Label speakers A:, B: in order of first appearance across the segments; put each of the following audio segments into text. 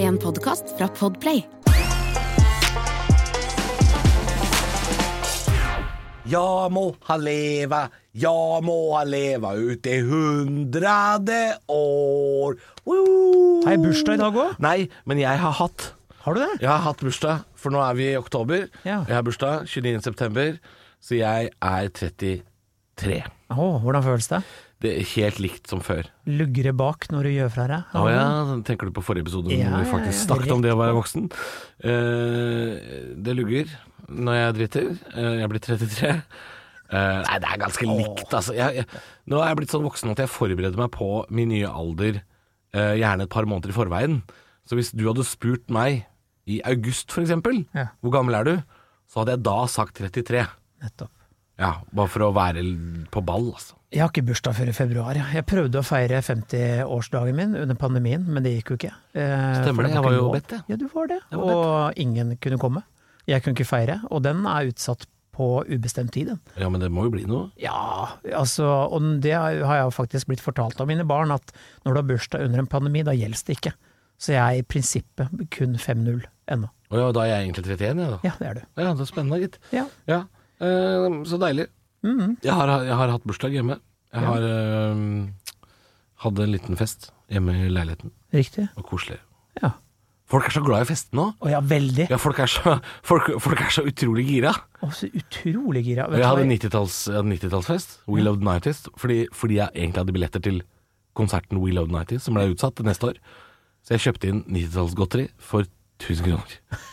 A: En podcast fra Podplay
B: Ja må ha leva, ja må ha leva ut i hundrade år. Woo!
C: Har jeg bursdag i dag òg?
B: Nei, men jeg har hatt.
C: Har du det?
B: Jeg har hatt bursdag, for nå er vi i oktober.
C: Ja.
B: Jeg har bursdag 29. september, så jeg er 33.
C: Åh, hvordan føles det?
B: Det er helt likt som før.
C: Lugre bak når du gjør fra deg?
B: Å ja, tenker du på forrige episode
C: Ja,
B: hvor vi
C: ja,
B: faktisk
C: ja.
B: snakket om det å være voksen? Eh, det lugger når jeg driter. Eh, jeg blir 33. Eh, nei, det er ganske likt, altså. Jeg, jeg, nå er jeg blitt sånn voksen at jeg forbereder meg på min nye alder eh, gjerne et par måneder i forveien. Så hvis du hadde spurt meg i august f.eks.:
C: Ja.
B: Hvor gammel er du? Så hadde jeg da sagt 33.
C: Nettopp.
B: Ja, bare for å være l- på ball, altså.
C: Jeg har ikke bursdag før i februar. jeg. Jeg prøvde å feire 50-årsdagen min under pandemien, men det gikk jo ikke. Eh,
B: Stemmer
C: for
B: det, jeg
C: var
B: var
C: ikke
B: jo
C: lov.
B: bedt, jeg.
C: Ja, du var det.
B: Jeg var
C: og ingen kunne komme. Jeg kunne ikke feire, og den er utsatt på ubestemt tid. den.
B: Ja, men det må jo bli noe.
C: Ja, altså, og det har jeg jo faktisk blitt fortalt av mine barn, at når du har bursdag under en pandemi, da gjelder det ikke. Så jeg er i prinsippet kun 5-0 ennå.
B: Og ja, da er jeg egentlig 31, jeg, da.
C: Ja, det er du.
B: Ja, det er spennende, gitt.
C: Ja.
B: Ja, eh, så deilig. jeg, har, jeg har hatt bursdag hjemme. Jeg har eh, hadde en liten fest hjemme i leiligheten.
C: Riktig.
B: Og koselig.
C: Ja.
B: Folk er så glad i feste nå.
C: Å ja, veldig.
B: Ja, folk er så, folk, folk er så utrolig gira.
C: Å, så utrolig gira. Vet
B: Jeg
C: du hva
B: hadde
C: jeg-
B: 90-talls- jeg hadde 90-tallsfest. We Love the 90s. Fordi, fordi jeg egentlig hadde billetter til konserten We Love the 90s, som ble utsatt til neste år. Så jeg kjøpte inn 90-tallsgodteri for 1000 kroner.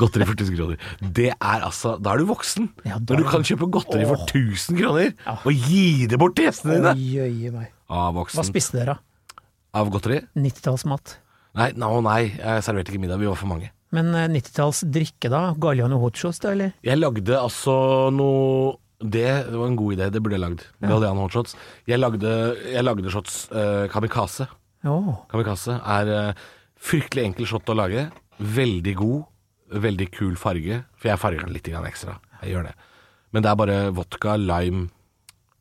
B: godteri for 1000 kroner. Det er altså Da er du voksen.
C: Ja, da
B: Når
C: er
B: du
C: du-
B: kan kjøpe godteri for
C: Åh.
B: 1000 kroner og gi det bort til gjestene dine!
C: Oi, oi, oi, meg.
B: Av
C: Hva
B: voksen.
C: spiste dere?
B: Av godteri?
C: 90-tallsmat.
B: Nei, no, nei, jeg serverte ikke middag. Vi var for mange.
C: Men 90-tallsdrikke, da? Galliano hochos, da, eller?
B: Jeg lagde altså noe Det var en god idé, det burde jeg lagd. Galliano hotshots. Jeg lagde, jeg lagde shots eh, kamikaze.
C: Å,
B: Kamikaze er eh, fryktelig enkel shot å lage. Veldig god, veldig kul farge. For jeg farger den litt grann ekstra. Jeg gjør det. Men det er bare vodka, lime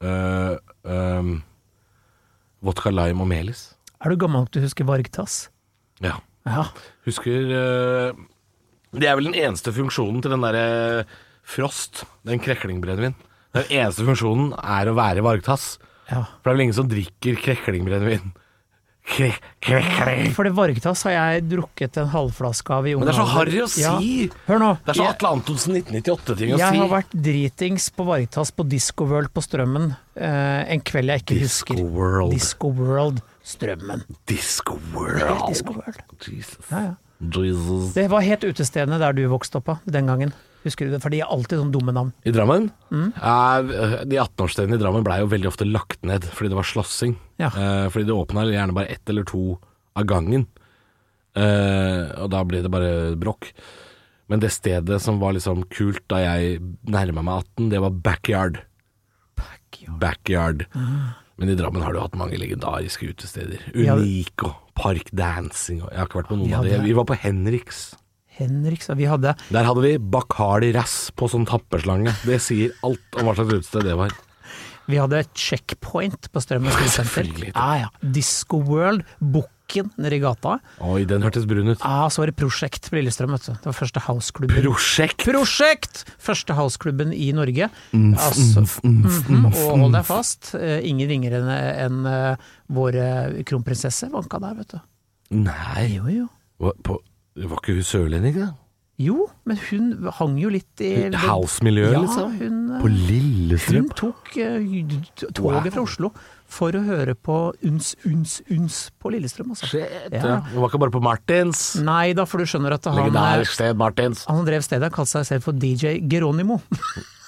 B: eh, ehm, Vodka, lime og melis.
C: Er du gammel nok til å huske vargtass?
B: Ja.
C: Ja.
B: Husker eh, Det er vel den eneste funksjonen til den derre Frost, den kreklingbrennevinet. Den eneste funksjonen er å være vargtass.
C: ja.
B: For det er vel ingen som drikker kreklingbrenevin. Kre krekling.
C: For det vargtass har jeg drukket en halvflaske av i ung
B: Men det er så
C: alder.
B: harry å si.
C: Hør nå.
B: Det er så
C: Jeg-
B: Atle Antonsen 1998-ting å
C: jeg
B: si.
C: har vært dritings på Vargtass på Disco World på Strømmen eh, en kveld jeg ikke
B: Disco
C: husker.
B: World.
C: Disco World Strømmen.
B: Disco
C: Helt
B: World.
C: Disco World.
B: Jesus.
C: Ja, ja.
B: Jesus.
C: Det var helt utestedene der du vokste opp av den gangen. Husker du det? For de har alltid sånne dumme navn.
B: I Drammen?
C: Mm.
B: Eh, de 18-årsstedene i Drammen blei jo veldig ofte lagt ned fordi det var slåssing.
C: Ja.
B: Eh, fordi det åpna gjerne bare ett eller to av gangen. Eh, og da ble det bare bråk. Men det stedet som var liksom kult da jeg nærma meg 18, det var backyard. Backyard.
C: Mm.
B: Men i Drammen har du hatt mange legendariske utesteder.
C: hadde-
B: Unik og Park Dancing og Jeg har ikke vært på noen
C: Vi
B: av de.
C: hadde-
B: Vi var på Henriks.
C: Henriks og Vi hadde
B: Der hadde vi Bacardi Rass på sånn tappeslange. Det sier alt om hva slags utested det var.
C: Vi hadde et checkpoint på Strømmen skolesenter.
B: Selvfølgelig.
C: Ja, ja. Disco World, Bukken nede i gata.
B: Oi, den hørtes brun ut.
C: Ja, så var det Prosjekt på Lillestrøm, vet du. Det var første houseklubben.
B: Prosjekt!
C: Prosjekt! Første houseklubben i Norge. Altså, mhm, og hold deg fast, eh, ingen ringere enn enn, eh, vår eh, kronprinsesse vanka der, vet du.
B: Nei,
C: Jo, jo.
B: hva- på, var ikke hun sørlending, da?
C: Jo, men hun hang jo litt i
B: House-miljøet,
C: ja,
B: liksom?
C: Hun, eh,
B: På Lillestrøm?
C: Hun tok eh, t- toget fra Oslo for å høre på Uns, Uns, Uns på Lillestrøm. Altså.
B: Shit,
C: Ja.
B: ja. Hun var ikke bare på Martins.
C: Nei da, for du skjønner at han, eh,
B: Legendarisk sted, Martins.
C: han som drev stedet, kalte seg selv for DJ Geronimo.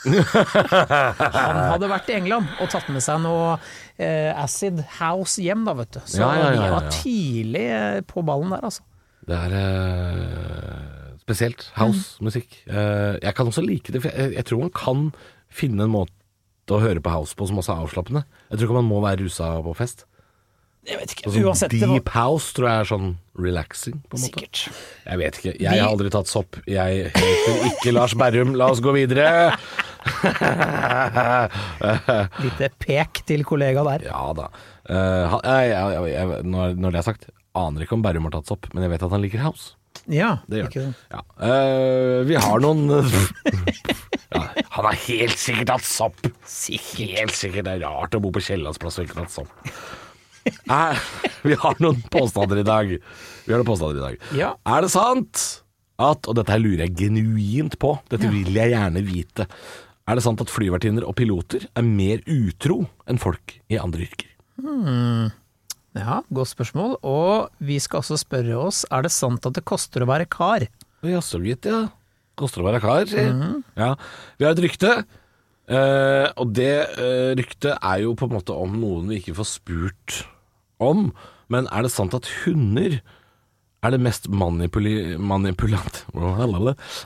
C: han hadde vært i England og tatt med seg noe eh, Acid House hjem, da, vet du. Så
B: Ja, ja, ja,
C: de
B: ja, ja.
C: var tidlig eh, på ballen der, altså.
B: Det er eh, spesielt. House-musikk. Eh, jeg kan også like det, for jeg, jeg tror man kan finne en måte å høre på house på som også er avslappende. Jeg tror ikke man må være rusa på fest.
C: Jeg vet ikke,
B: Sånn
C: uansett. Det var
B: deep house tror jeg er sånn relaxing, på en måte.
C: sikkert.
B: Jeg vet ikke. Jeg har aldri tatt sopp. Jeg heter ikke Lars Berrum. La oss gå videre.
C: Lite pek til kollega der.
B: Ja da. Eh, ha- nei, jeg- jeg- jeg- når, når det er sagt, aner ikke om Berrum har tatt seg opp, men jeg vet at han liker House.
C: Ja,
B: Det gjør
C: ikke
B: han.
C: sant.
B: Ja. Eh, vi har noen ja, Han har helt sikkert hatt sopp! Helt sikkert. Det er rart å bo på Kiellandsplass og ikke hatt sopp. Eh, vi har noen påstander i dag. Vi har noen påstander i dag.
C: Ja.
B: Er det sant at Og dette her lurer jeg genuint på. Dette vil jeg gjerne vite. Er det sant at flyvertinner og piloter er mer utro enn folk i andre yrker?
C: Ja, godt spørsmål. Og vi skal også spørre oss, er det sant at det koster å være kar?
B: Jaså, gitt, ja. Koster å være kar, sier ja. Vi har et rykte, eh, og det eh, ryktet er jo på en måte om noen vi ikke får spurt om. Men er det sant at hunder er det mest manipuli... manipulant...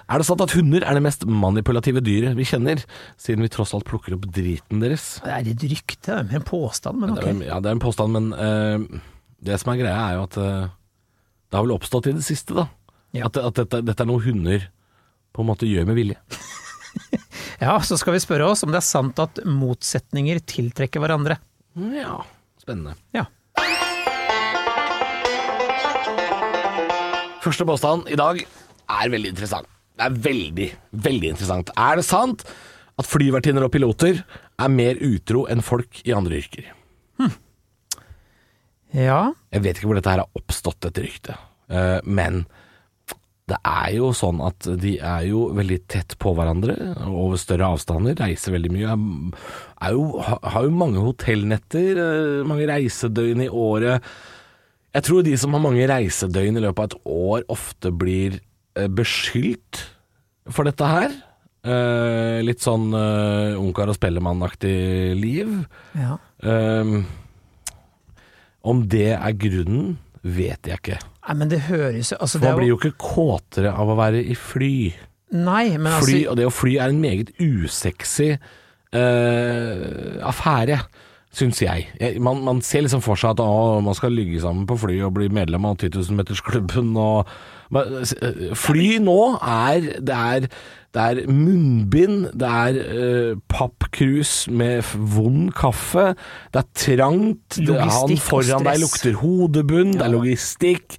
B: Er det sant at hunder er det mest manipulative dyret vi kjenner, siden vi tross alt plukker opp driten deres?
C: Det er et rykte, det er en påstand, men
B: Det er,
C: ok.
B: jo- ja, det er en påstand, men eh, det som er greia er jo at eh, det har vel oppstått i det siste, da.
C: Ja.
B: At, at dette, dette er noe hunder på en måte gjør med vilje.
C: Ja, så skal vi spørre oss om det er sant at motsetninger tiltrekker hverandre.
B: Ja, spennende.
C: Ja.
B: Første påstand i dag er veldig interessant. Det er veldig, veldig interessant. Er det sant at flyvertinner og piloter er mer utro enn folk i andre yrker?
C: Ja,
B: Jeg vet ikke hvor dette her har oppstått, dette ryktet. Eh, men det er jo sånn at de er jo veldig tett på hverandre, over større avstander, reiser veldig mye. Er- Er jo, ha- har jo mange hotellnetter, eh, mange reisedøgn i året. Jeg tror de som har mange reisedøgn i løpet av et år, ofte blir eh, beskyldt for dette her. Eh, litt sånn eh, ungkar og spellemann-aktig liv.
C: ja.
B: Ehm, om det er grunnen, vet jeg ikke.
C: Nei, men det høres jo altså, det
B: Man
C: er
B: blir jo
C: jo,
B: ikke kåtere av å være i fly.
C: Nei, men altså
B: fly og det å fly er en meget usexy eh, affære, syns jeg. jeg man, man ser liksom for seg at å, man skal ligge sammen på fly og bli medlem av 10 000-metersklubben og men, eh, Fly nå er Det er, det er munnbind, det er eh, pappkrus med f- vond kaffe, det er trangt, det, han
C: Logistikk og
B: foran deg
C: stress.
B: lukter hodebunn, det er logistikk,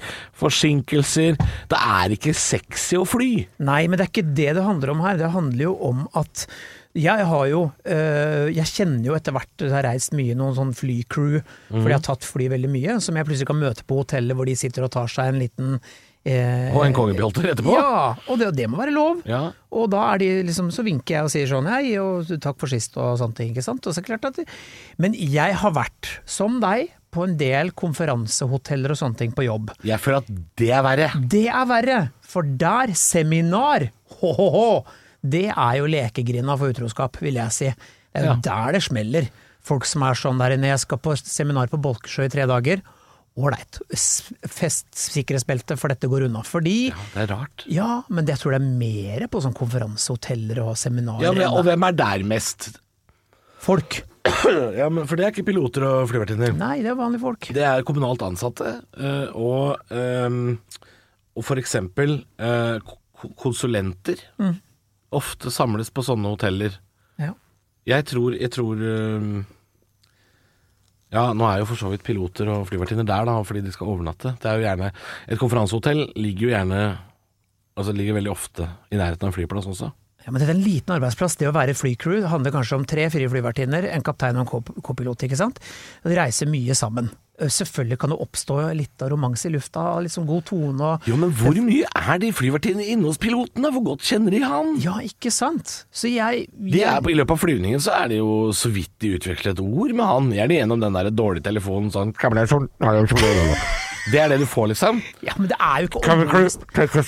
B: forsinkelser Det er ikke sexy å fly.
C: Nei, men det er ikke det det handler om her. Det handler jo om at jeg har jo øh, Jeg kjenner jo etter hvert Jeg har reist mye i noen sånn flycrew, fordi
B: Mhm.
C: jeg har tatt fly veldig mye, som jeg plutselig kan møte på hotellet hvor de sitter og tar seg en liten eh,
B: Og en kongebjolter etterpå?
C: Ja, og det, og det må være lov.
B: Ja.
C: Og da er de liksom, så vinker jeg og sier sånn hei, og takk for sist og sånne ting. ikke sant? Og så er det klart at de, men jeg har vært, som deg, på en del konferansehoteller og sånne ting på jobb.
B: Jeg føler at det er verre.
C: Det er verre, for der seminar, ho-ho-ho, det er jo lekegrinda for utroskap, vil jeg si. Det er jo der det smeller. Folk som er sånn der inne, jeg skal på seminar på Bolkesjø i tre dager. Ålreit, s- fest sikkerhetsbeltet, for dette går unna. Fordi
B: Det er rart.
C: ja, men jeg tror det er mer på sånn konferansehoteller og seminarer
B: Ja, men, og
C: enn
B: hvem er der mest?
C: folk.
B: Ja, men For det er ikke piloter og flyvertinner.
C: Nei, det er vanlige folk.
B: Det er kommunalt ansatte, eh, og, ehm, og for eksempel eh, ko- konsulenter. Ofte samles på sånne hoteller.
C: Ja.
B: Jeg tror, jeg tror ehm, Ja, nå er jo for så vidt piloter og flyvertinner der, da, fordi de skal overnatte. Det er jo gjerne Et konferansehotell ligger jo gjerne Altså ligger veldig ofte i nærheten av en flyplass også.
C: Ja, men dette er en liten arbeidsplass. Det å være flycrew det handler kanskje om tre-fire flyvertinner, en kaptein og en kop- kopilot, ikke sant. Og De reiser mye sammen. Ø, Selvfølgelig kan det oppstå litt av romanse i lufta, liksom god tone og
B: Jo, men hvor mye er de flyvertinnene inne hos pilotene? Hvor godt kjenner de han?
C: Ja, ikke sant? Så jeg,
B: De
C: jeg
B: er, på- I løpet av flyvningen så er det jo så vidt de utveksler et ord med han. Gjerne gjennom den der dårlige telefonen sånn Det er det du får, liksom.
C: Ja, men det er jo ikke
B: Ja,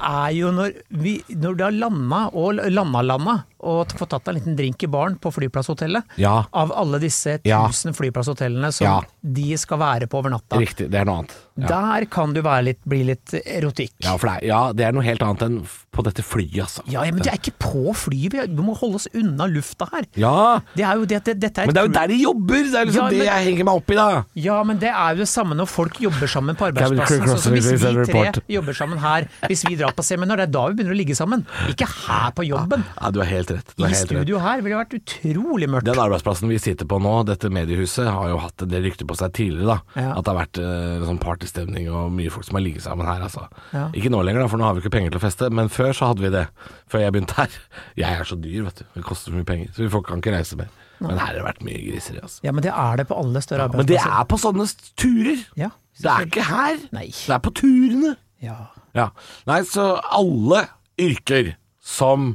C: er jo når, vi, når du har landa og landa-landa og t- fått tatt deg en liten drink i baren på flyplasshotellet
B: Ja.
C: Av alle disse
B: Ja.
C: tusen flyplasshotellene som
B: Ja.
C: de skal være på over natta.
B: Riktig, det er noe annet. Ja.
C: Der kan du være litt, bli litt erotikk.
B: Ja, for det er, ja, det er noe helt annet enn f- på dette flyet, altså.
C: Ja, ja, men det er ikke på flyet, vi- vi må holde oss unna lufta her.
B: Ja,
C: Det er jo det, det, dette er et
B: men det er jo
C: crew-
B: der de jobber! Det er liksom
C: Ja,
B: det
C: men-
B: jeg henger meg opp i, da.
C: Ja, men det er jo det samme når folk jobber sammen på arbeidsplassen.
B: Cabin crew
C: Sånn som hvis vi
B: crossing is a
C: tre
B: report.
C: jobber sammen her, hvis vi drar på seminar, det er da vi begynner å ligge sammen. Ikke her på jobben.
B: Ja, du har helt rett. Du har
C: I
B: Ah, helt rett.
C: studio her ville det vært utrolig mørkt.
B: Den arbeidsplassen vi sitter på nå, dette mediehuset, har jo hatt det ryktet på seg tidligere, da.
C: Ja.
B: At det har vært eh, sånn partystemning og mye folk som har ligget sammen her, altså.
C: Ja.
B: Ikke nå lenger, da, for nå har vi ikke penger til å feste, men før så hadde vi det. Før jeg begynte her. Jeg er så dyr, vet du. Det koster så mye penger, så vi folk kan ikke reise mer. Men her har det vært mye griseri, altså.
C: Ja, men det er det på alle større
B: Men det
C: arbeidsplasser.
B: er på sånne s- turer.
C: altså. Ja,
B: Det er ikke her.
C: Nei.
B: Det er på turene.
C: Ja.
B: Ja. Nei, så alle yrker som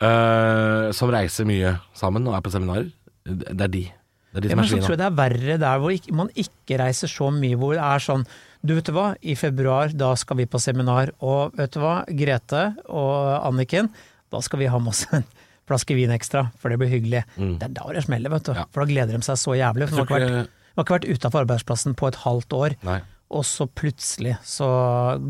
B: eh, som reiser mye sammen og er på seminarer, det det er de. Det er de
C: Ja,
B: som
C: men
B: er
C: så tror
B: svina.
C: jeg det er verre der hvor ikke, man ikke reiser så mye, hvor det er sånn Du, vet du hva, i februar, da skal vi på seminar, og vet du hva, Grete og Anniken, da skal vi ha med oss en flaske vin ekstra, for det blir hyggelig. Det er da det smeller, vet du.
B: Mm. Ja.
C: For da gleder de seg så jævlig. For de
B: tror
C: har ikke
B: ikke-
C: vært, de har ikke vært utafor arbeidsplassen på et halvt år.
B: Nei.
C: Og så plutselig så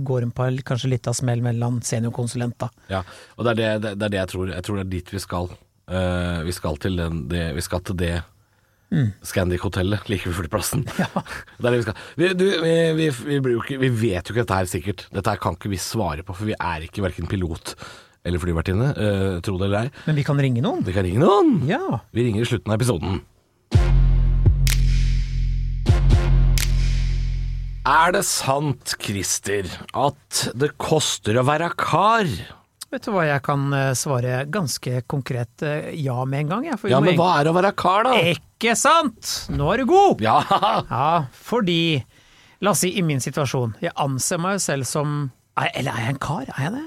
C: går hun på en- kanskje litt av smell mellom seniorkonsulent, da.
B: Ja, og det er det, det, det er det jeg tror. Jeg tror det er dit vi skal. Eh, vi skal til den, det, vi skal til det Mm. Scandic-hotellet like ved flyplassen. Det er det vi skal. Vi, du, vi, vi, vi, blir jo ikke, vi vet jo ikke dette her sikkert. Dette her kan ikke vi svare på, for vi er ikke verken pilot eller flyvertinne, eh, tro det eller ei.
C: Men vi kan ringe noen.
B: Det kan ringe noen!
C: Ja.
B: Vi ringer i slutten av episoden. Er det sant, Christer, at det koster å være kar?
C: Vet du hva, jeg kan eh, svare ganske konkret eh, ja med en gang. Jeg, for vi
B: Ja,
C: må
B: men
C: egentlig-
B: hva er å være kar, da?
C: Ikke sant! Nå er du god!
B: Ja,
C: Ja, fordi La oss si i min situasjon. Jeg anser meg jo selv som Nei, Eller er jeg en kar? Er jeg det?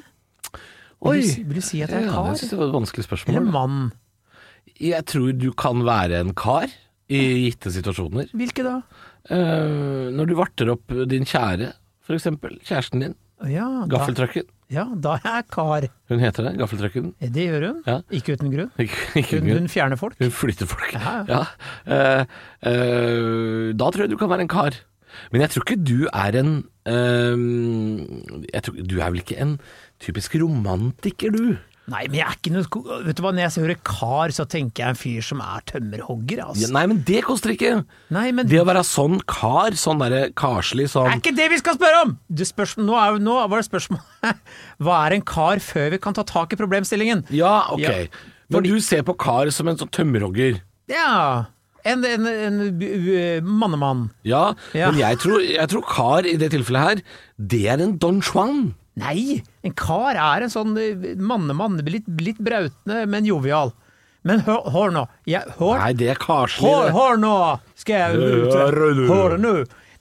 C: Vil,
B: Oi.
C: du, si- vil du si at jeg er en
B: Ja, jeg
C: kar?
B: synes det var et vanskelig spørsmål.
C: Eller mann?
B: Jeg tror du kan være en kar i gitte situasjoner.
C: Hvilke da?
B: Eh, når du varter opp din kjære, for eksempel. Kjæresten din.
C: Ja, da,
B: Gaffeltrucken.
C: ja, da er jeg kar.
B: Hun heter det. Gaffeltrucken.
C: Det gjør hun.
B: Ja.
C: Ikke uten grunn.
B: Ikke- ikke
C: Hun,
B: grunn.
C: hun fjerner folk.
B: Hun flytter folk.
C: Ja,
B: Ja. Eh, eh, da tror jeg du kan være en kar. Men jeg tror ikke du er en eh, jeg tror, Du er vel ikke en typisk romantiker, du?
C: Nei, men jeg er ikke noe ko- Vet du hva, når jeg hører kar, så tenker jeg en fyr som er tømmerhogger,
B: Ja,
C: altså.
B: nei, men det koster ikke!
C: Nei, men
B: Det å være sånn kar, sånn derre karslig
C: Det er
B: sånn
C: ikke det vi skal spørre om! Du spørs, nå, er, nå var det spørsmål Hva er en kar før vi kan ta tak i problemstillingen?
B: Ja, ok.
C: Ja.
B: Når du ser på kar som en sånn tømmerhogger
C: Ja En, en, en bu- bu- mannemann.
B: ja,
C: Ja.
B: men jeg tror, jeg tror kar i det tilfellet her, det er en Don Juan.
C: Nei! En kar er en sånn eh, mannemann. Litt, litt brautende, men jovial. Men hør, hør nå. Jeg, hør,
B: Nei, det er karslig.
C: hør,
B: det.
C: hør nå! Skal jeg ut
B: Hører du?
C: Hør nå!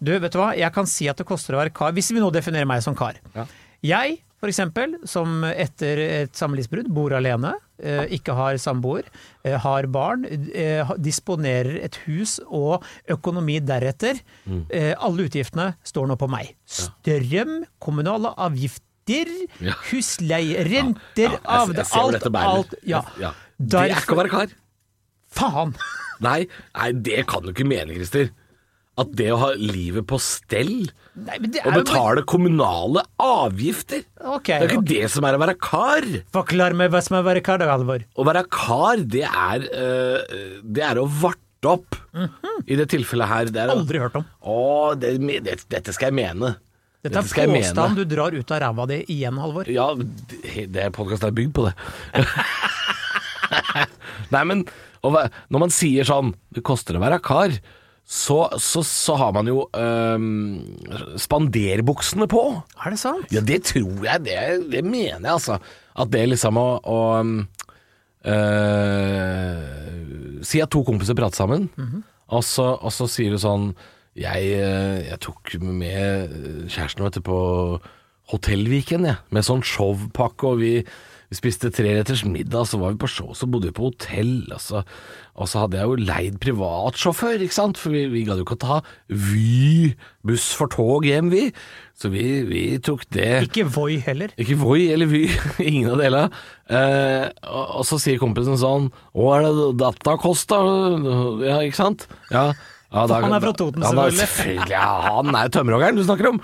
C: Du, vet du hva? Jeg kan si at det koster å være kar, hvis vi nå definerer meg som kar.
B: Ja.
C: Jeg, for eksempel, som etter et samlivsbrudd bor alene, eh, ikke har samboer, eh, har barn, eh, ha- disponerer et hus og økonomi deretter.
B: Mm.
C: Eh, Alle utgiftene står nå på meg. Strøm, kommunale avgifter,
B: Ja.
C: husleie, renter,
B: Ja, jeg,
C: avdrag
B: jeg ser hvor dette bærer.
C: Alt, ja.
B: Ja. Det er ikke
C: Derfor,
B: å være kar.
C: faen!
B: Nei, nei, det kan du ikke mene, Christer. At det å ha livet på stell
C: Nei, men det er
B: og
C: jo bare-
B: betale kommunale avgifter
C: Ok,
B: Det er ikke det som er å være kar.
C: Forklar meg hva som er å være kar, da, Halvor.
B: Å være kar, det er, øh, det er å varte opp. I det tilfellet her. Det er å,
C: Mhm. Aldri hørt om.
B: Å, det, me- det, dette skal jeg mene.
C: Dette er
B: Dette skal jeg
C: påstand
B: mene.
C: du drar ut av ræva di igjen, Halvor.
B: Ja, det, det podkasten er bygd på det. Nei, men å væ- når man sier sånn Det koster å være kar. Så, så, så har man jo øhm, spanderbuksene på.
C: Er det sant?
B: Ja, det tror jeg. Det, det mener jeg, altså. At det liksom å, å ehm, øhm, øh, Si at to kompiser prater sammen, og, så, og så sier du sånn jeg, øh, jeg tok med kjæresten vet du, på Hotellviken, jeg. Med sånn showpakke, og vi, vi spiste treretters middag, så var vi på show, så bodde vi på hotell. Og så, og så hadde jeg jo leid privatsjåfør, ikke sant? for vi, vi gadd jo ikke å ta Vy buss for tog hjem, vi. Så vi, vi tok det.
C: Ikke Voi heller.
B: Ikke Voi eller Vy, ingen av delene. Eh, og, og så sier kompisen sånn Å, er det dette kosta? Ja, ikke sant? Ja, ja, da-
C: Han er fra Toten,
B: Ja, da-
C: selvfølgelig.
B: selvfølgelig. Ja, han er tømmerhoggeren du snakker om.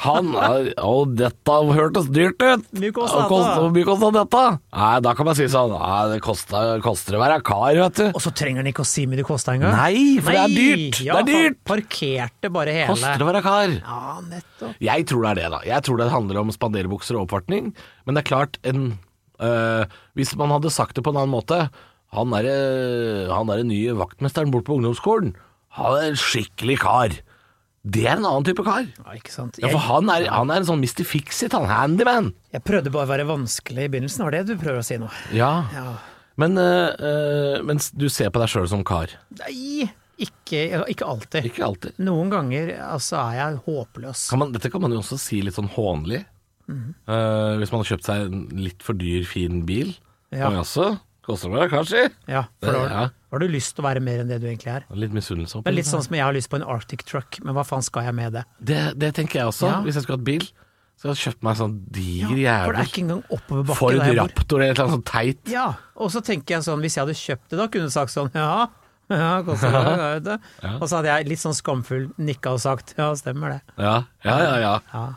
B: Han er, Å, dette hørtes dyrt ut.
C: Mye kosta
B: Og kost-
C: dette.
B: Hvor mye kosta dette? Nei, da kan man si sånn Nei, det kosta, koster å være kar, vet du.
C: Og så trenger han ikke å si mye det kosta engang.
B: Nei, for det er dyrt.
C: Ja,
B: det er dyrt.
C: Han parkerte bare hele
B: Koster å være kar.
C: Ja, nettopp.
B: Jeg tror det er det, da. Jeg tror det handler om spanderbukser og oppvartning. Men det er klart, en øh, Hvis man hadde sagt det på en annen måte Han er, øh, han er den nye vaktmesteren bort på ungdomsskolen. Han er en skikkelig kar. Det er en annen type kar.
C: Ja, ikke sant?
B: Ja,
C: Jeg,
B: for han er, han er en sånn Mr. Fixit, han. Handyman.
C: jeg prøvde bare å være vanskelig i begynnelsen, var det du prøver å si nå?
B: Ja.
C: Ja.
B: Men eh, eh, mens du ser på deg sjøl som kar.
C: Nei, ikke, ikke alltid.
B: Ikke alltid.
C: Noen ganger altså, er jeg håpløs.
B: Kan man, dette kan man jo også si litt sånn hånlig. Eh, hvis man har kjøpt seg en litt for dyr, fin bil.
C: Ja.
B: Og også koster meg kanskje.
C: Ja, for da
B: Ja.
C: har- har du lyst til å være mer enn det du egentlig er.
B: Litt misunnelse
C: Det
B: oppi
C: er litt sånn som jeg har lyst på en Arctic truck, men hva faen skal jeg med det?
B: Det, det tenker jeg også.
C: Ja.
B: Hvis jeg skulle hatt bil, så hadde jeg kjøpt meg en sånn diger
C: For det er
B: jævel
C: ikke engang oppoverbakke
B: Ford
C: der jeg bor.
B: Raptor eller et eller annet sånt teit.
C: Ja, og så tenker jeg sånn, hvis jeg hadde kjøpt det da, kunne du sagt sånn, ja, ja, koster det, ja, vet du. Og så hadde jeg litt sånn skamfull nikka og sagt, ja, stemmer det.
B: Ja, ja, ja. ja.
C: Ja.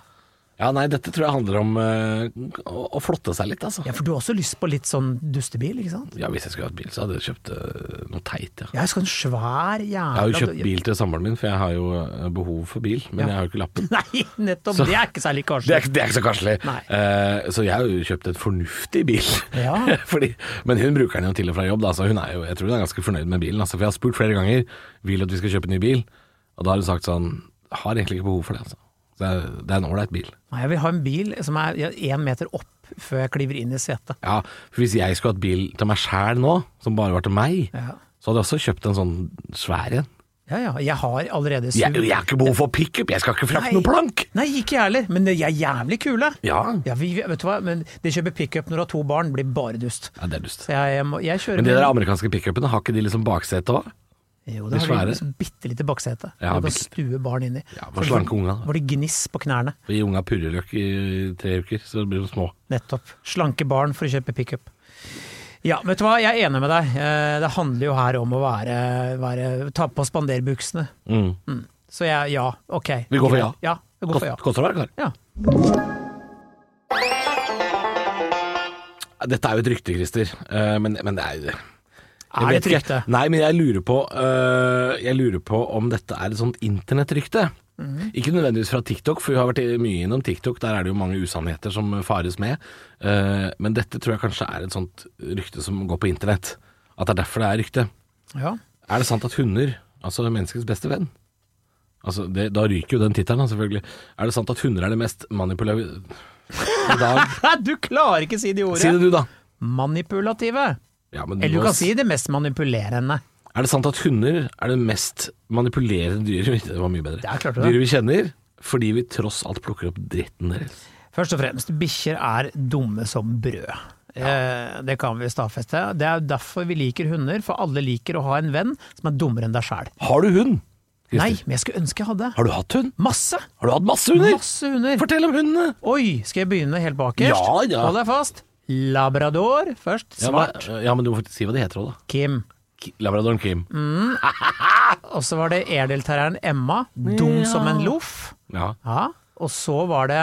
B: ja nei, dette tror jeg handler om eh, å, å flotte seg litt, altså.
C: ja, for du har også lyst på litt sånn dustebil, ikke sant?
B: Ja, hvis jeg skulle hatt bil, så hadde jeg kjøpt eh, noe teit, ja.
C: Jeg skal ha en svær
B: Jeg
C: jævla...
B: har jo kjøpt bil til samboeren min, for jeg har jo eh, behov for bil, men
C: Ja.
B: jeg har jo ikke lappen.
C: Nei, nettopp,
B: Så-
C: det er ikke særlig
B: Det er,
C: kanskje.
B: ikke- det er ikke så karslig.
C: Nei.
B: Eh, så jeg har jo kjøpt en fornuftig bil.
C: Ja.
B: Fordi, men hun bruker den jo til og fra jobb, da, så hun er jo, jeg tror hun er ganske fornøyd med bilen. Altså, for jeg har spurt flere ganger vil du at vi skal kjøpe en ny bil, og da har hun sagt sånn har egentlig ikke behov for det. Altså. Så Det er, det er en ålreit bil.
C: Nei, jeg vil ha en bil som er ja, en meter opp før jeg kliver inn i setet.
B: Ja, for Hvis jeg skulle hatt bil til meg sjæl nå, som bare var til meg,
C: Ja.
B: så hadde jeg også kjøpt en sånn svær en.
C: Ja, ja, jeg har allerede sur...
B: Jeg, jeg har ikke behov for pickup, jeg skal ikke frakte
C: Nei.
B: noen plank!
C: Nei, ikke jeg heller, men jeg er jævlig kule.
B: Ja.
C: Ja, vi, vet du hva, men det kjøper pick-up når du har to barn, blir bare dust.
B: ja, det er dust.
C: Så jeg, jeg, må, jeg kjører
B: Men de
C: med-
B: der amerikanske pickupene, har ikke de liksom baksete òg?
C: Jo, det
B: De
C: har de liksom
B: svære.
C: bitte lite baksete.
B: Ja,
C: du kan
B: bitte
C: stue barn inni.
B: Ja,
C: Så
B: bare
C: det
B: slanke
C: var-
B: unga, da.
C: Var det gniss på knærne?
B: Vi unga purreløk i tre uker, så blir de små.
C: Nettopp. Slanke barn for å kjøpe pickup. Ja, vet du hva, jeg er enig med deg. Eh, Det handler jo her om å være, være ta på spanderbuksene. Mm. Så jeg, ja, ok.
B: Vi går for ja.
C: Greit. Ja, vi går for ja.
B: Kost- Koster det å være kar?
C: ja.
B: Dette er jo et rykte, Christer. eh, men, men det er jo det. Jeg
C: Er det
B: vet
C: et
B: ikke.
C: rykte?
B: Nei, men jeg lurer på eh, Jeg lurer på om dette er et sånt internettrykte. Ikke nødvendigvis fra TikTok, for vi har vært i- mye innom TikTok. Der er det jo mange usannheter som fares med. Eh, men dette tror jeg kanskje er et sånt rykte som går på internett. At det er derfor det er rykte.
C: ja.
B: Er det sant at hunder, altså menneskets beste venn Altså, det, Da ryker jo den tittelen, da, selvfølgelig. Er det sant at hunder er det mest manipulative I dag
C: Nei, Du klarer ikke si de ordene!
B: Si det du, da.
C: Manipulative.
B: Ja, men
C: Eller du
B: må
C: kan
B: s-
C: si det mest manipulerende.
B: Er det sant at hunder er det mest manipulerende dyret vi Det var mye bedre.
C: Det er klart det.
B: Dyret vi kjenner, fordi vi tross alt plukker opp dritten deres.
C: Først og fremst, bikkjer er dumme som brød. Eh, det kan vi stadfeste. Det er jo derfor vi liker hunder, for alle liker å ha en venn som er dummere enn deg sjæl.
B: Har du hund? Christer?
C: Nei, men jeg skulle ønske jeg hadde.
B: Har du hatt hund?
C: Masse!
B: Har du hatt masse hunder?
C: Masse hunder.
B: Fortell om hundene!
C: Oi, skal jeg begynne helt bakerst?
B: Ja, ja.
C: Hold deg fast. Labrador først.
B: Ja, men,
C: Svart.
B: ja, men du må faktisk si hva de heter òg, da.
C: Kim.
B: Ki- Labradoren Kim.
C: Mm. Og så var det erdelterrieren Emma. Dum
B: Ja.
C: som en loff.
B: Ja.
C: Ja. Og så var det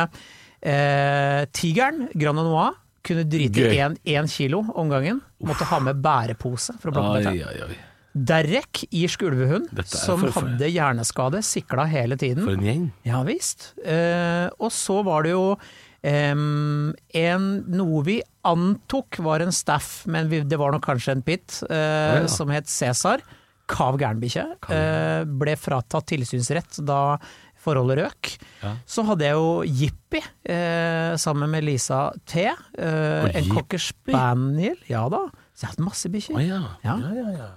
C: eh, tigeren, Grand Noir. Kunne drite
B: Gøy.
C: i én- én kilo om gangen. Måtte ha med bærepose for å plukke
B: Oi,
C: dette.
B: oi, oi.
C: Derek, irsk ulvehund,
B: Dette er
C: som
B: forferdelig.
C: hadde hjerneskade, sikla hele
B: For
C: tiden.
B: en gjeng.
C: Ja visst. Eh, og så var det jo em, en, noe vi antok var en staff, men vi, det var nok kanskje en pit, eh,
B: ja.
C: som het Cæsar. Kav gærenbikkje. Eh, ble fratatt tilsynsrett da forholdet røk.
B: Ja.
C: Så hadde jeg jo Jippi eh, sammen med Lisa T. Eh, en cocker spaniel. Ja da. Så jeg har hatt masse bikkjer.
B: Å ja.
C: Ja.
B: Ja, ja, ja.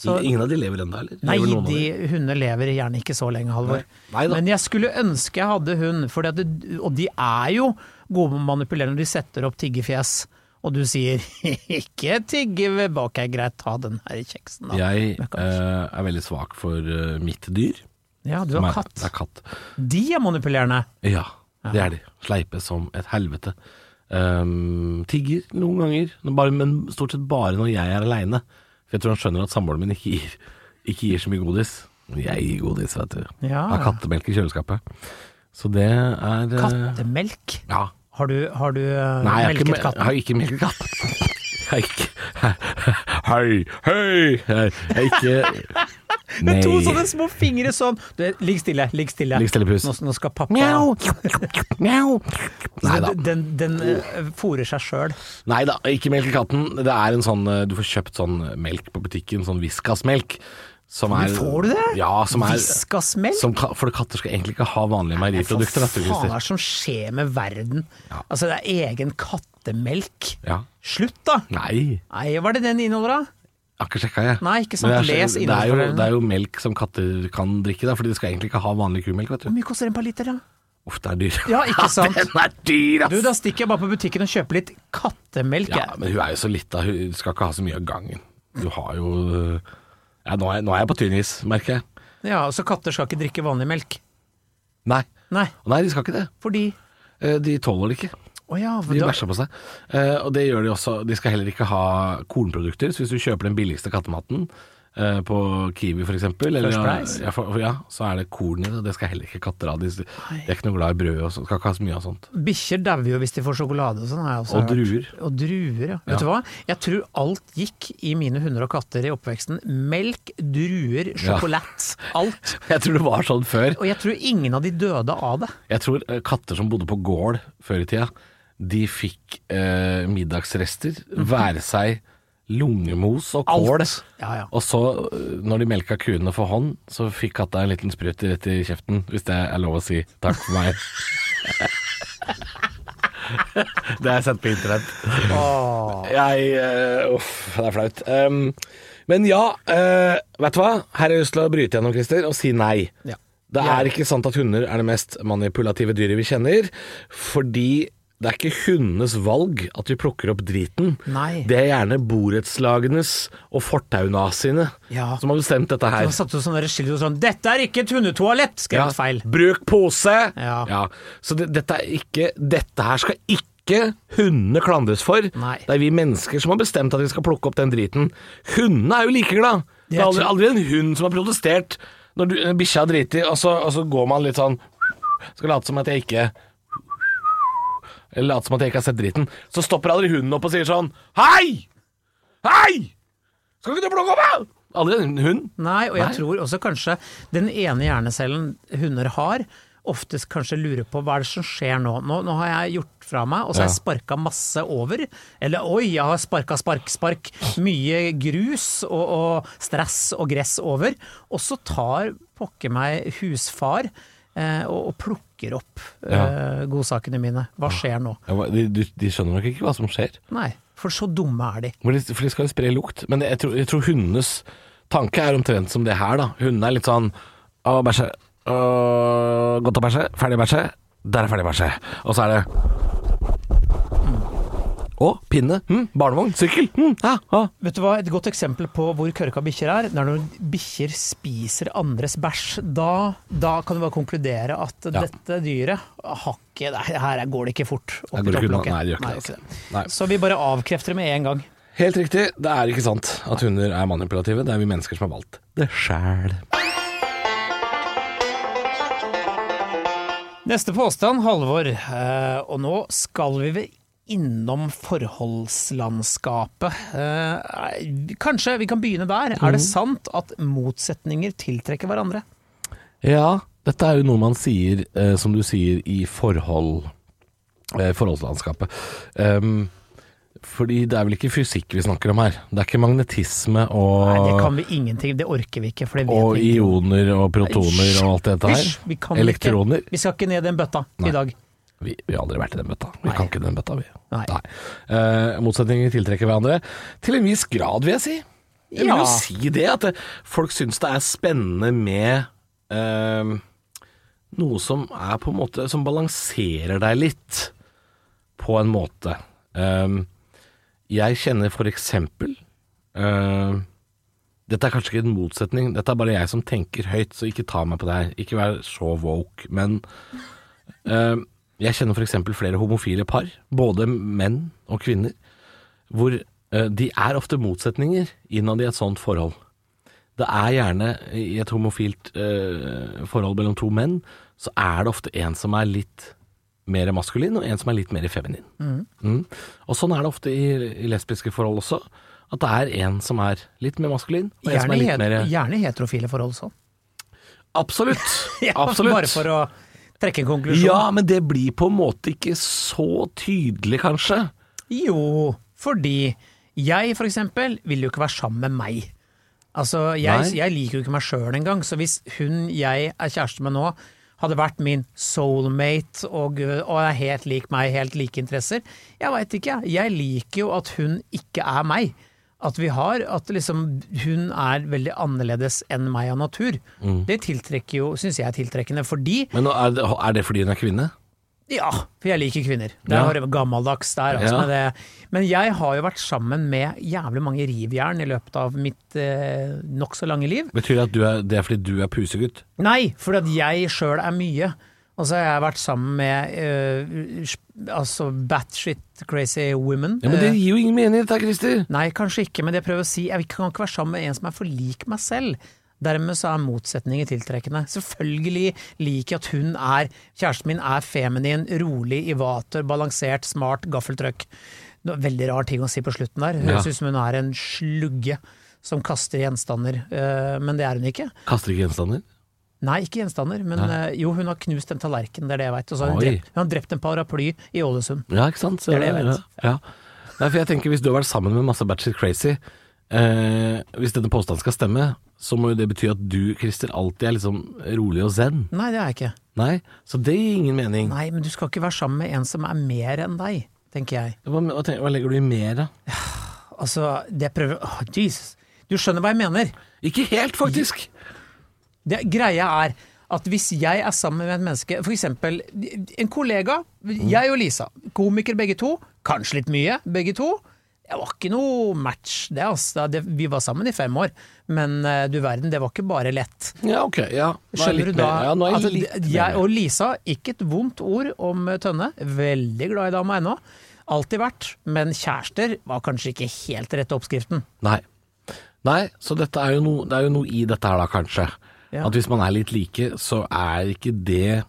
C: Så-
B: In- Ingen av de lever ennå, eller?
C: Nei,
B: Lever noen av
C: de, hunder lever gjerne ikke så lenge, Halvor.
B: Nei da.
C: Men jeg skulle ønske jeg hadde hund, fordi at det, og de er jo gode med å manipulere når de setter opp tiggefjes. Og du sier 'ikke tigge ved bak er greit, ta den her kjeksen', da.
B: Jeg
C: Møkkamus.
B: eh, er veldig svak for eh, mitt dyr.
C: ja, du
B: som
C: har
B: er- Det
C: katt.
B: er katt.
C: De er manipulerende.
B: Ja, det er de. Sleipe som et helvete. Ehm, tigger noen ganger, men bare, men stort sett bare når jeg er aleine. For jeg tror han skjønner at samboeren min ikke gir, ikke gir så mye godis. Men Jeg gir godis, vet du.
C: Ja.
B: Har kattemelk i kjøleskapet. Så det er eh,
C: Kattemelk.
B: Ja.
C: Har du, har du eh,
B: Nei, jeg har ikke
C: melket
B: me-
C: katten?
B: Jeg har ikke melket katt. Jeg har ikke Hei, hei! Jeg har ikke Nei.
C: To sånne små fingre sånn. Du, ligg stille, ligg stille.
B: Ligg stille, pus.
C: Nå, nå skal pappa
B: Mjau! Mjau! Nei da.
C: Den, den, den eh, fôrer seg sjøl.
B: Nei eh, da, ikke melk i katten. Det er en sånn eh, Du får kjøpt sånn melk på butikken, sånn Viskas-melk. Som
C: Men
B: er,
C: får du det?
B: Ja, som er
C: Viskasmelk?
B: som ka- For katter skal egentlig ikke ha vanlige meieriprodukter, vet du,
C: Hva faen
B: Christer.
C: er det som skjer med verden?
B: Ja.
C: Altså, det er egen kattemelk.
B: Ja.
C: Slutt, da!
B: Nei,
C: Nei, hva er det den inneholder, da?
B: jeg har ikke sjekka, jeg.
C: Nei, ikke sant.
B: Men jeg
C: Les
B: er- det, er jo,
C: innholdsfordelene.
B: det er jo melk som katter kan drikke, da, fordi de skal egentlig ikke ha vanlig kumelk, vet du.
C: Hvor mye koster den per liter, da?
B: Uff, det er dyr.
C: Ja, ikke sant?
B: Den er dyr, ass!
C: Du, da stikker jeg bare på butikken og kjøper litt kattemelk.
B: ja,
C: jeg.
B: men hun er jo så lita, hun skal ikke ha så mye av gangen. Du har jo eh, ja, nå, er jeg, nå er jeg på tynn is, merker jeg.
C: Ja, og Så katter skal ikke drikke vanlig melk?
B: Nei.
C: Nei,
B: Nei, de skal ikke det.
C: fordi
B: Eh, De tåler det ikke.
C: Å ja, for
B: De
C: da,
B: bæsjer på seg. Eh, og det gjør de også. De skal heller ikke ha kornprodukter. Så hvis du kjøper den billigste kattematen eh, på Kiwi f.eks., eller
C: First Price?
B: ja, for, ja, så er det korn i det. Det skal heller ikke katter ha. De, de er ikke noe glad i brød og sånt. Skal ikke ha så mye av sånt.
C: Bikkjer dauer jo hvis de får sjokolade og sånn. har jeg også
B: Og
C: hørt.
B: druer.
C: Og druer, ja. Vet du hva? Jeg tror alt gikk i mine hunder og katter i oppveksten. Melk, druer, sjokolade. Alt.
B: Jeg tror det var sånn før.
C: Og jeg tror ingen av de døde av det.
B: Jeg tror eh, katter som bodde på gård før i tida, de fikk eh, middagsrester, være seg lungemos og
C: Alt.
B: kål.
C: Ja, ja.
B: Og så, eh, når de melka kuene for hånd, så fikk katta en liten sprøyt rett i kjeften, hvis det er lov å si. Takk for meg. det har jeg sett på internett. Jeg eh, Uff, det er flaut. Ehm, men ja, eh, vet du hva? Her har jeg lyst til å bryte gjennom, Christer, og si nei.
C: Ja.
B: Det er ikke sant at hunder er det mest manipulative dyret vi kjenner, fordi det er ikke hundenes valg at vi plukker opp driten.
C: Nei.
B: Det er gjerne borettslagenes og fortaunaziene
C: Ja.
B: som har bestemt dette her.
C: Da satte du sånn der skilt og sånn 'Dette er ikke et hundetoalett!' skrev jeg feil.
B: Bruk pose!
C: Ja.
B: Så det, dette er ikke Dette her skal ikke hundene klandres for.
C: Nei.
B: Det er vi mennesker som har bestemt at vi skal plukke opp den driten. Hundene er jo like glad. Det er aldri, aldri en hund som har protestert når du- når bikkja har driti, og, så- og så går man litt sånn Skal late som at jeg ikke Eller late som at jeg ikke har sett driten. Så stopper aldri hunden opp og sier sånn Hei! Hei! Skal ikke du plukke opp, da? Aldri en hund.
C: Nei, og jeg
B: Nei.
C: tror også kanskje den ene hjernecellen hunder har, oftest kanskje lurer på hva er det som skjer nå. Nå, nå har jeg gjort fra meg, og så har jeg sparka masse over. Eller oi, jeg har sparka spark, spark. Mye grus og, og stress og gress over. Og så tar pokker meg husfar eh, og, og plukker opp eh, godsakene mine. Hva skjer nå?
B: Ja, hva- De, de, de skjønner nok ikke hva som skjer.
C: Nei, for så dumme er de.
B: For de, for de skal jo spre lukt. Men jeg tror, jeg tror hundenes tanke er omtrent som det her, da. Hundene er litt sånn Å, bæsje. Å, godt å bæsje. Ferdig bæsje. Der er ferdig bæsje. Og så er det Å, pinne. Hm, barnevogn. Sykkel. Hm, ja, å.
C: Vet du hva, Et godt eksempel på hvor kørka bikkjer er, det er når bikkjer spiser andres bæsj. Da, da kan du bare konkludere at
B: Ja.
C: dette dyret har ikke nei, Her går det ikke fort. opp
B: Her
C: i
B: går det ikke unna.
C: topplokket.
B: Nei, det gjør ikke det,
C: det.
B: Nei.
C: Så vi bare avkrefter det med en gang.
B: Helt riktig, det er ikke sant at hunder er manipulative. Det er vi mennesker som har valgt det sjæl.
C: Neste påstand, Halvor. Eh, og nå skal vi vel innom forholdslandskapet. Eh, kanskje vi kan begynne der. Er
B: Mm.
C: det sant at motsetninger tiltrekker hverandre?
B: Ja, dette er jo noe man sier, eh, som du sier, i forhold, eh, forholdslandskapet. Ehm, fordi det er vel ikke fysikk vi snakker om her. Det er ikke magnetisme
C: Nei, det
B: og,
C: kan vi ingenting. Det orker vi ikke. For det vet
B: og
C: vi ikke.
B: ioner og protoner og alt dette
C: Hysj, vi kan
B: her. Elektroner.
C: Ikke, vi skal ikke ned i den bøtta
B: Nei.
C: i dag.
B: Vi, vi har aldri vært i den bøtta. Vi
C: Nei.
B: kan ikke den bøtta, vi.
C: Nei.
B: Eh, motsetninger tiltrekker hverandre. Til en viss grad, vil jeg si. Jeg vil
C: Ja.
B: jo si det, at det, folk syns det er spennende med eh, noe som er på en måte Som balanserer deg litt, på en måte. Eh, jeg kjenner for eksempel eh, Dette er kanskje ikke en motsetning, dette er bare jeg som tenker høyt, så ikke ta meg på det her. Ikke vær så woke, men Eh, Jeg kjenner f.eks. flere homofile par, både menn og kvinner, hvor eh, de er ofte motsetninger innad i et sånt forhold. Det er gjerne i et homofilt eh, forhold mellom to menn, så er det ofte en som er litt mer maskulin, og en som er litt mer feminin. Mm. Og sånn er det ofte i, i lesbiske forhold også. At det er en som er litt mer maskulin, og en som er
C: Gjerne, het-
B: litt mer
C: gjerne heterofile forhold sånn.
B: Absolutt!
C: Ja,
B: Absolutt.
C: Bare for å trekke en konklusjon.
B: Ja, men det blir på en måte ikke så tydelig, kanskje.
C: Jo, fordi jeg for eksempel vil jo ikke være sammen med meg. Altså, jeg,
B: Nei.
C: jeg liker jo ikke meg sjøl engang, så hvis hun jeg er kjæreste med nå, hadde vært min soulmate og, og er helt lik meg, helt like interesser Jeg veit ikke, jeg. Jeg liker jo at hun ikke er meg. At vi har At liksom hun er veldig annerledes enn meg av natur. Det tiltrekker jo, syns jeg er tiltrekkende, fordi
B: Men nå er det, er det fordi hun er kvinne?
C: ja, for jeg liker kvinner. Det
B: Ja.
C: er bare gammeldags der. Altså,
B: Ja.
C: med det. Men jeg har jo vært sammen med jævlig mange rivjern i løpet av mitt eh, nokså lange liv.
B: Betyr det at du er, det er fordi du er pusegutt?
C: Nei, fordi at jeg sjøl er mye. Og så har jeg vært sammen med eh, sp- altså batshit crazy women.
B: Ja, Men det
C: Eh,
B: gir jo ingen mening dette, Christer.
C: Nei, kanskje ikke, men det jeg prøver å si, jeg kan ikke være sammen med en som er for lik meg selv. Dermed så er motsetninger tiltrekkende. Selvfølgelig liker jeg at hun er Kjæresten min er feminin, rolig, i vater, balansert, smart, gaffeltrøkk. Det var Veldig rar ting å si på slutten der. Høres
B: Ja.
C: ut som hun er en slugge som kaster gjenstander, eh, men det er hun ikke.
B: Kaster ikke gjenstander?
C: Nei, ikke gjenstander, men eh, jo, hun har knust en tallerken, det er det jeg veit. Og så har hun
B: Oi.
C: drept, hun har drept en paraply i Ålesund.
B: Ja, ikke sant? Så,
C: Det er det jeg
B: ja,
C: vet.
B: ja. Nei, for jeg tenker hvis du har vært sammen med masse batshit crazy, eh, hvis denne påstanden skal stemme, så må jo det bety at du, Christer, alltid er liksom rolig og zen.
C: Nei, det er jeg ikke.
B: Nei, så det gir ingen mening.
C: Nei, men du skal ikke være sammen med en som er mer enn deg, tenker jeg.
B: Hva, hva, tenker, hva legger du i mer, da?
C: Altså, det prøver Åh, Jesus. Du skjønner hva jeg mener.
B: Ikke helt, faktisk!
C: Det, greia er at hvis jeg er sammen med et menneske, f.eks. en kollega,
B: Mm.
C: jeg og Lisa, komiker begge to, kanskje litt mye begge to. Det var ikke noe match, det, altså. Det, vi var sammen i fem år, men eh, du verden, det var ikke bare lett.
B: Ja, ok. Ja. Nå er jeg
C: Skjønner
B: litt
C: du da?
B: mer- Ja, nå er jeg
C: altså,
B: litt
C: jeg
B: mer.
C: og Lisa, ikke et vondt ord om eh, Tønne. Veldig glad i dama ennå. Alltid vært. Men kjærester var kanskje ikke helt rett oppskriften.
B: Nei. Nei, så dette er jo noe, det er jo noe i dette her, da, kanskje.
C: Ja.
B: At hvis man er litt like, så er ikke det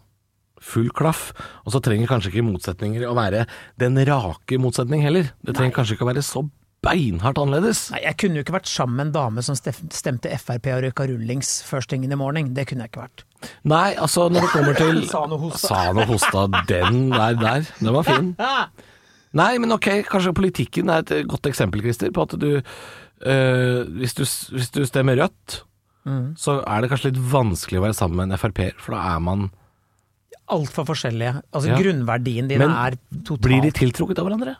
B: full klaff. Og så trenger kanskje ikke motsetninger å være den rake motsetning heller. Det trenger kanskje ikke å være så beinhardt annerledes.
C: Nei, Jeg kunne jo ikke vært sammen med en dame som stef- stemte Frp og røyka rullings first thing in the morning. Det kunne jeg ikke vært.
B: Nei, altså når det kommer til
C: Sa han og hosta.
B: Sa han og hosta. Den der, der. Den var fin. Nei, men ok, kanskje politikken er et godt eksempel, Christer, på at du, eh, hvis, du hvis du stemmer rødt,
C: Mm.
B: så er det kanskje litt vanskelig å være sammen med en Frp-er, for da er man
C: Altfor forskjellige. Altså
B: Ja.
C: Grunnverdien din
B: Men
C: er totalt
B: Blir de tiltrukket av hverandre?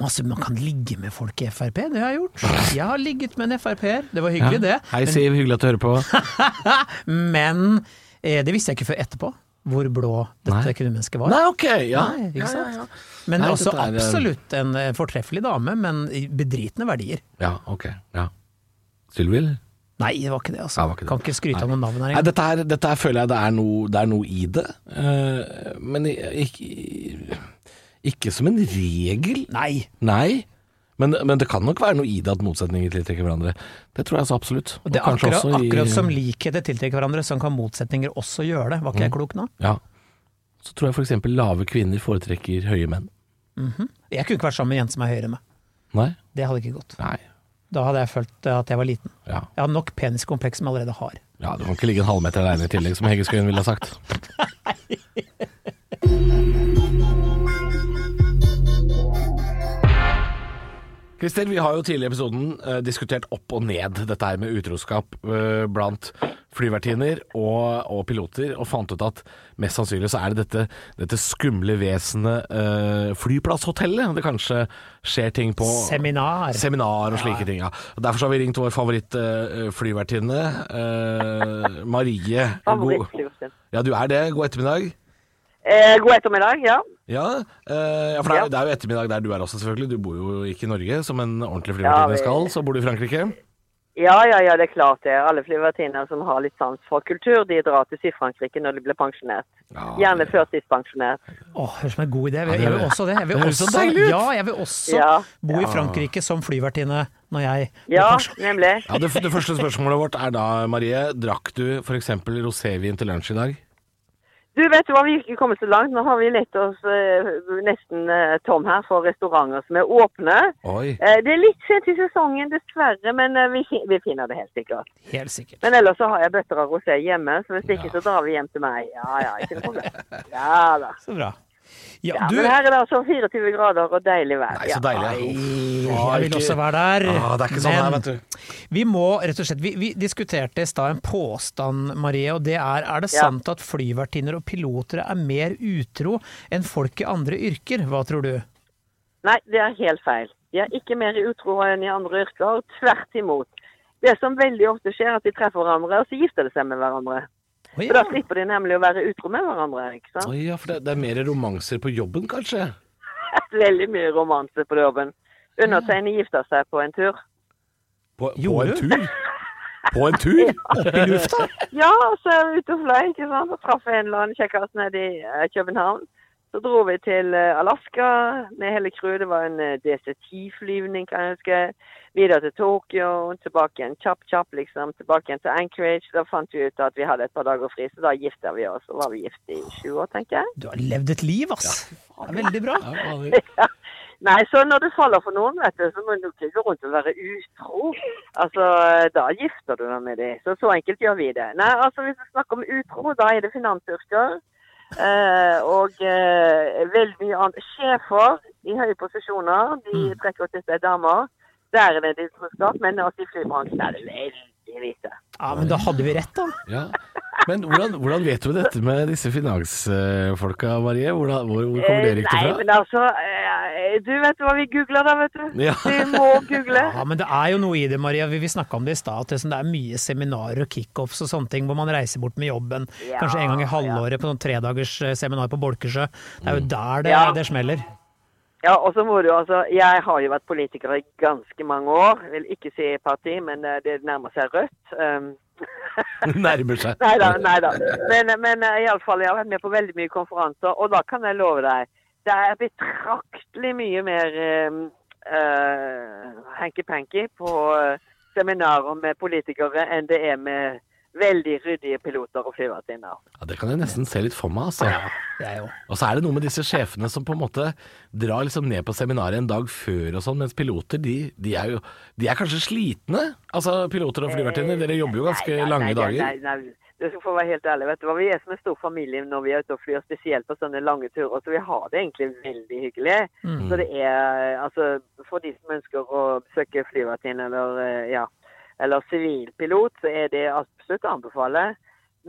C: Altså, Man kan ligge med folk i Frp, det har jeg gjort. Jeg har ligget med en Frp-er, det var hyggelig det.
B: Hei Siv, hyggelig at du hører på.
C: Men eh, det visste jeg ikke før etterpå, hvor blå dette
B: Nei.
C: kvinnemennesket var.
B: Nei, ok, ja.
C: Nei, ikke
B: Ja,
C: sant?
B: ja, ja.
C: Men
B: Nei,
C: også
B: dette er, eh,
C: absolutt en eh, fortreffelig dame, men i bedritne verdier.
B: Ja, ok. Ja. Sylvi, eller?
C: Nei, det var ikke det,
B: Ja,
C: altså.
B: det var ikke det.
C: Kan ikke skryte av noen navn her
B: Nei,
C: engang.
B: dette her, dette her føler jeg det er noe, det er noe i det, eh, men i- ikke, ikke som en regel.
C: Nei.
B: Nei. Men, men det kan nok være noe i det at motsetninger tiltrekker hverandre. Det tror jeg så absolutt.
C: Og det er
B: Og kanskje
C: akkurat,
B: også i-
C: akkurat som likheter tiltrekker hverandre, sånn kan motsetninger også gjøre det. Var ikke jeg
B: Mm.
C: klok nå?
B: Ja. Så tror jeg for eksempel lave kvinner foretrekker høye menn.
C: Jeg kunne ikke vært sammen med en jente som er høyere enn meg.
B: Nei?
C: Det hadde ikke gått.
B: Nei.
C: Da hadde jeg følt eh, at jeg var liten.
B: Ja.
C: Jeg hadde nok peniskompleks som jeg allerede har.
B: ja, du kan ikke ligge en halvmeter aleine i tillegg, som Hege Skøyen ville ha sagt. Christer, vi har jo tidligere i episoden eh, diskutert opp og ned dette her med utroskap eh, blant flyvertinner og, og piloter, og fant ut at mest sannsynlig så er det dette, dette skumle vesenet eh, flyplasshotellet det kanskje skjer ting på.
C: Seminar.
B: Seminar og slike ting, ja. Og Derfor så har vi ringt vår favorittflyvertinne, eh, Marie. God-
A: Favorittflyvertinne.
B: Ja, du er det. God ettermiddag.
A: Eh, god ettermiddag, ja.
B: Ja, eh, ja for det er,
A: Ja.
B: det er jo ettermiddag der du er også, selvfølgelig. Du bor jo ikke i Norge, som en ordentlig
A: Ja,
B: flyvertinne
A: vi-
B: skal. Så bor du i Frankrike.
A: Ja, ja, ja, det er klart det. Alle flyvertinner som har litt sans for kultur, de drar til Frankrike når de blir pensjonert. Gjerne førtidspensjonert.
C: Åh, høres ut som en god idé. Jeg
B: det-
C: vil også det. Jeg vil
B: det høres så
C: også,
B: deilig ut.
C: ja, jeg vil også
A: Ja.
C: bo i Frankrike som flyvertinne når jeg blir
A: Ja,
C: pensjon-
A: nemlig.
B: Ja, det, det første spørsmålet vårt er da, Marie, drakk du f.eks. rosévin til lunsj i dag?
A: Du, vet du hva, vi har ikke kommet så langt. Nå har vi lett oss eh, nesten eh, tom her for restauranter som er åpne.
B: Oi.
A: Eh, det er litt sent i sesongen, dessverre, men eh, vi, fin- vi finner det helt sikkert.
C: Helt sikkert.
A: Men ellers så har jeg bøtter av rosé hjemme, så hvis ikke, så drar vi hjem til meg. Ja, ja, ikke noe problem. Ja da.
C: Så bra.
A: Ja, men her er det altså 24 grader og deilig vær.
B: Nei,
A: Ja.
B: så deilig. Uff.
C: Jeg vil også være der.
B: Ah, det er ikke sånn her,
C: men
B: vet du.
C: Vi må rett og slett Vi, vi diskuterte i stad en påstand, Marie, og det er er det
A: Ja.
C: sant at flyvertinner og piloter er mer utro enn folk i andre yrker? Hva tror du?
A: Nei, det er helt feil. De er ikke mer utro enn i andre yrker, tvert imot. Det som veldig ofte skjer, er at de treffer hverandre, og så gifter de seg med hverandre.
C: Å
A: For da
C: ja.
A: slipper de nemlig å være utro med hverandre. ikke sant?
B: Oi, ja, for det, det er mer romanser på jobben, kanskje?
A: Veldig mye romanse på jobben. Undertegnede gifta seg på en tur.
B: På, på en
C: Gjorde du?
B: tur? På en tur?
C: Opp i lufta?
A: Ja, og så er vi ute og fløy, ikke sant. Så traff jeg en eller annen kjekkas nede i eh, København. Så dro vi til eh, Alaska med hele crewet. Det var en eh, DC-10-flyvning, kan jeg huske. Videre til Tokyo, tilbake igjen kjapp, kjapp, liksom. Tilbake igjen til Anchorage. Da fant vi ut at vi hadde et par dager fri, så da gifta vi oss. Og var vi gift i sju år, tenker jeg.
C: Du har levd et liv, ass! Det er veldig bra.
B: Ja, fader.
A: Nei, så når du faller for noen, vet du, så må du ikke gå rundt og være utro. Altså, da gifter du deg med dem. Så så enkelt gjør vi det. Nei, altså hvis vi snakker om utro, da er det finansyrker. Eh, og eh, veldig mye annet. Sjefer i høye posisjoner, de
B: Mm.
A: trekker til seg damer. Der er det litt troskap, men altså i flybransjen er det veldig lite.
C: Ja, Men da hadde vi rett, da.
B: ja. Men hvordan, hvordan vet du dette med disse finansfolka, Marie? Hvordan, hvor, hvor kommer det
A: Eh,
B: riktig
A: Nei,
B: fra?
A: men altså, eh, du vet hva vi googler da, vet du.
B: Ja.
A: Vi må google.
C: Ja, Men det er jo noe i det, Maria. Vi, vi snakka om det i stad. At det, er sånn, det er mye seminarer og kickoffs og sånne ting hvor man reiser bort med jobben.
A: Ja, Mm.
C: Kanskje en gang i halvåret på noen tredagers eh, seminar på Bolkesjø. Det er jo der det,
A: Ja.
C: det smeller.
A: Ja, og så må du altså Jeg har jo vært politiker i ganske mange år. Vil ikke si parti, men eh, det nærmer seg rødt. Um,
B: Nærmer seg.
A: nei da, nei da. Men, men eh, i alle fall, jeg har vært med på veldig mye konferanser, og da kan jeg love deg Det er betraktelig mye mer um, eh, hanky-panky på eh, seminarer med politikere enn det er med veldig ryddige piloter og flyvertinner.
B: Ja, det kan jeg nesten se litt for meg, altså.
C: Det er jo
B: Og så er det noe med disse sjefene som på en måte drar liksom ned på seminaret en dag før og sånn, mens piloter, de, de er jo De er kanskje slitne? Altså, piloter og flyvertinner, dere jobber jo ganske
A: Eh, Nei, nei,
B: lange
A: nei,
B: dager.
A: Nei, nei, nei. Du skal få være helt ærlig. Vet du hva? Vi er som en stor familie når vi er ute og flyr, spesielt på sånne lange turer. Så vi har det egentlig veldig hyggelig.
B: Mm.
A: Så det er altså For de som ønsker å besøke flyvertinne eller eh, ja, eller sivilpilot, så er det absolutt å anbefale.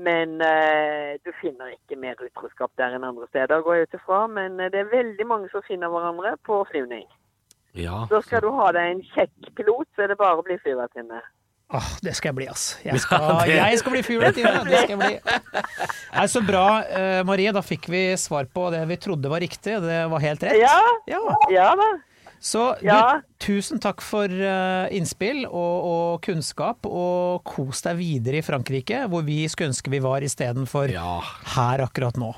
A: Men eh, du finner ikke mer utroskap der enn andre steder, går jeg ut ifra. Men eh, det er veldig mange som finner hverandre på flyvning.
B: Mm. Ja.
A: Så skal du ha deg en kjekk pilot, så er det bare å bli flyvertinne.
C: Åh, det skal jeg bli, ass. Jeg skal,
B: det-
C: jeg skal bli fugletine. Det skal jeg bli. Nei, så bra, eh, Marie. Da fikk vi svar på det vi trodde var riktig. Det var helt rett.
A: Ja,
C: Ja.
A: ja da.
C: Så du,
A: Ja.
C: tusen takk for eh, innspill og, og kunnskap, og kos deg videre i Frankrike, hvor vi skulle ønske vi var istedenfor
B: Ja. Mhm.
C: her akkurat nå.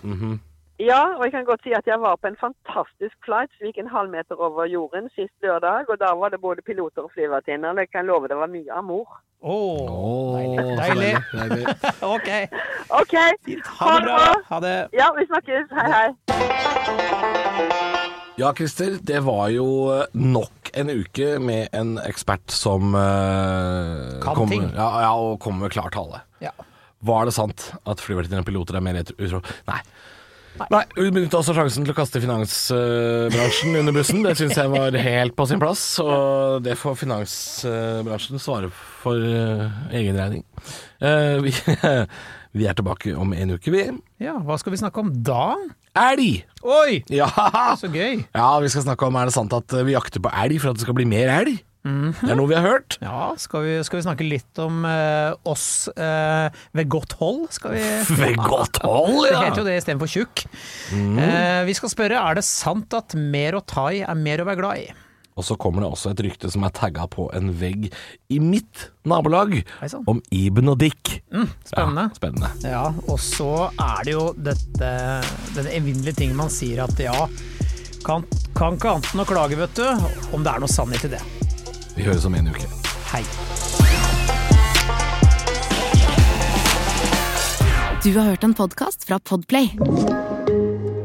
A: Ja, og jeg kan godt si at jeg var på en fantastisk flight som gikk en halv meter over jorden sist lørdag. Og da var det både piloter og flyvertinner. og Jeg kan love det var mye amor.
C: Åh,
B: Åh, så
C: Deilig.
B: deilig. deilig.
C: ok.
A: OK.
C: Ha det bra. Ha det.
A: Ja, vi snakkes. Hei, hei.
B: Ja, Christer, det var jo nok en uke med en ekspert som eh,
C: Kan
B: kom,
C: ting.
B: Ja, ja, og kom med klar tale.
C: Ja.
B: Var det sant at flyvertinner og piloter er mer ut- utro? Nei. Nei, Hun benytta også sjansen til å kaste finansbransjen under bussen. Det syns jeg var helt på sin plass, og det får finansbransjen svare for eh, egen regning. Eh, vi, vi er tilbake om en uke, vi.
C: ja, hva skal vi snakke om da?
B: Elg!
C: Oi,
B: Ja!
C: så gøy.
B: Ja, vi skal snakke om er det sant at vi jakter på elg for at det skal bli mer elg. Det er noe vi har hørt.
C: Ja, skal vi, skal vi snakke litt om eh, oss eh, ved godt hold? Skal vi
B: Ved godt hold,
C: Det heter jo
B: ja!
C: det istedenfor tjukk. Eh, vi skal spørre er det sant at mer å ta i er mer å være glad i.
B: Og så kommer det også et rykte som er tagga på en vegg i mitt nabolag
C: Hei sann.
B: om Iben og Dick.
C: Spennende.
B: Ja, Mm, spennende.
C: Ja, og så er det jo dette denne evinnelige ting man sier at ja, kan, kan ikke annet enn å klage, vet du. Om det er noe sannhet i det.
B: Vi høres om en uke.
C: Hei.
D: Du har hørt en podcast fra Podplay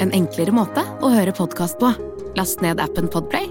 D: En enklere måte å høre podcast på Last ned appen Podplay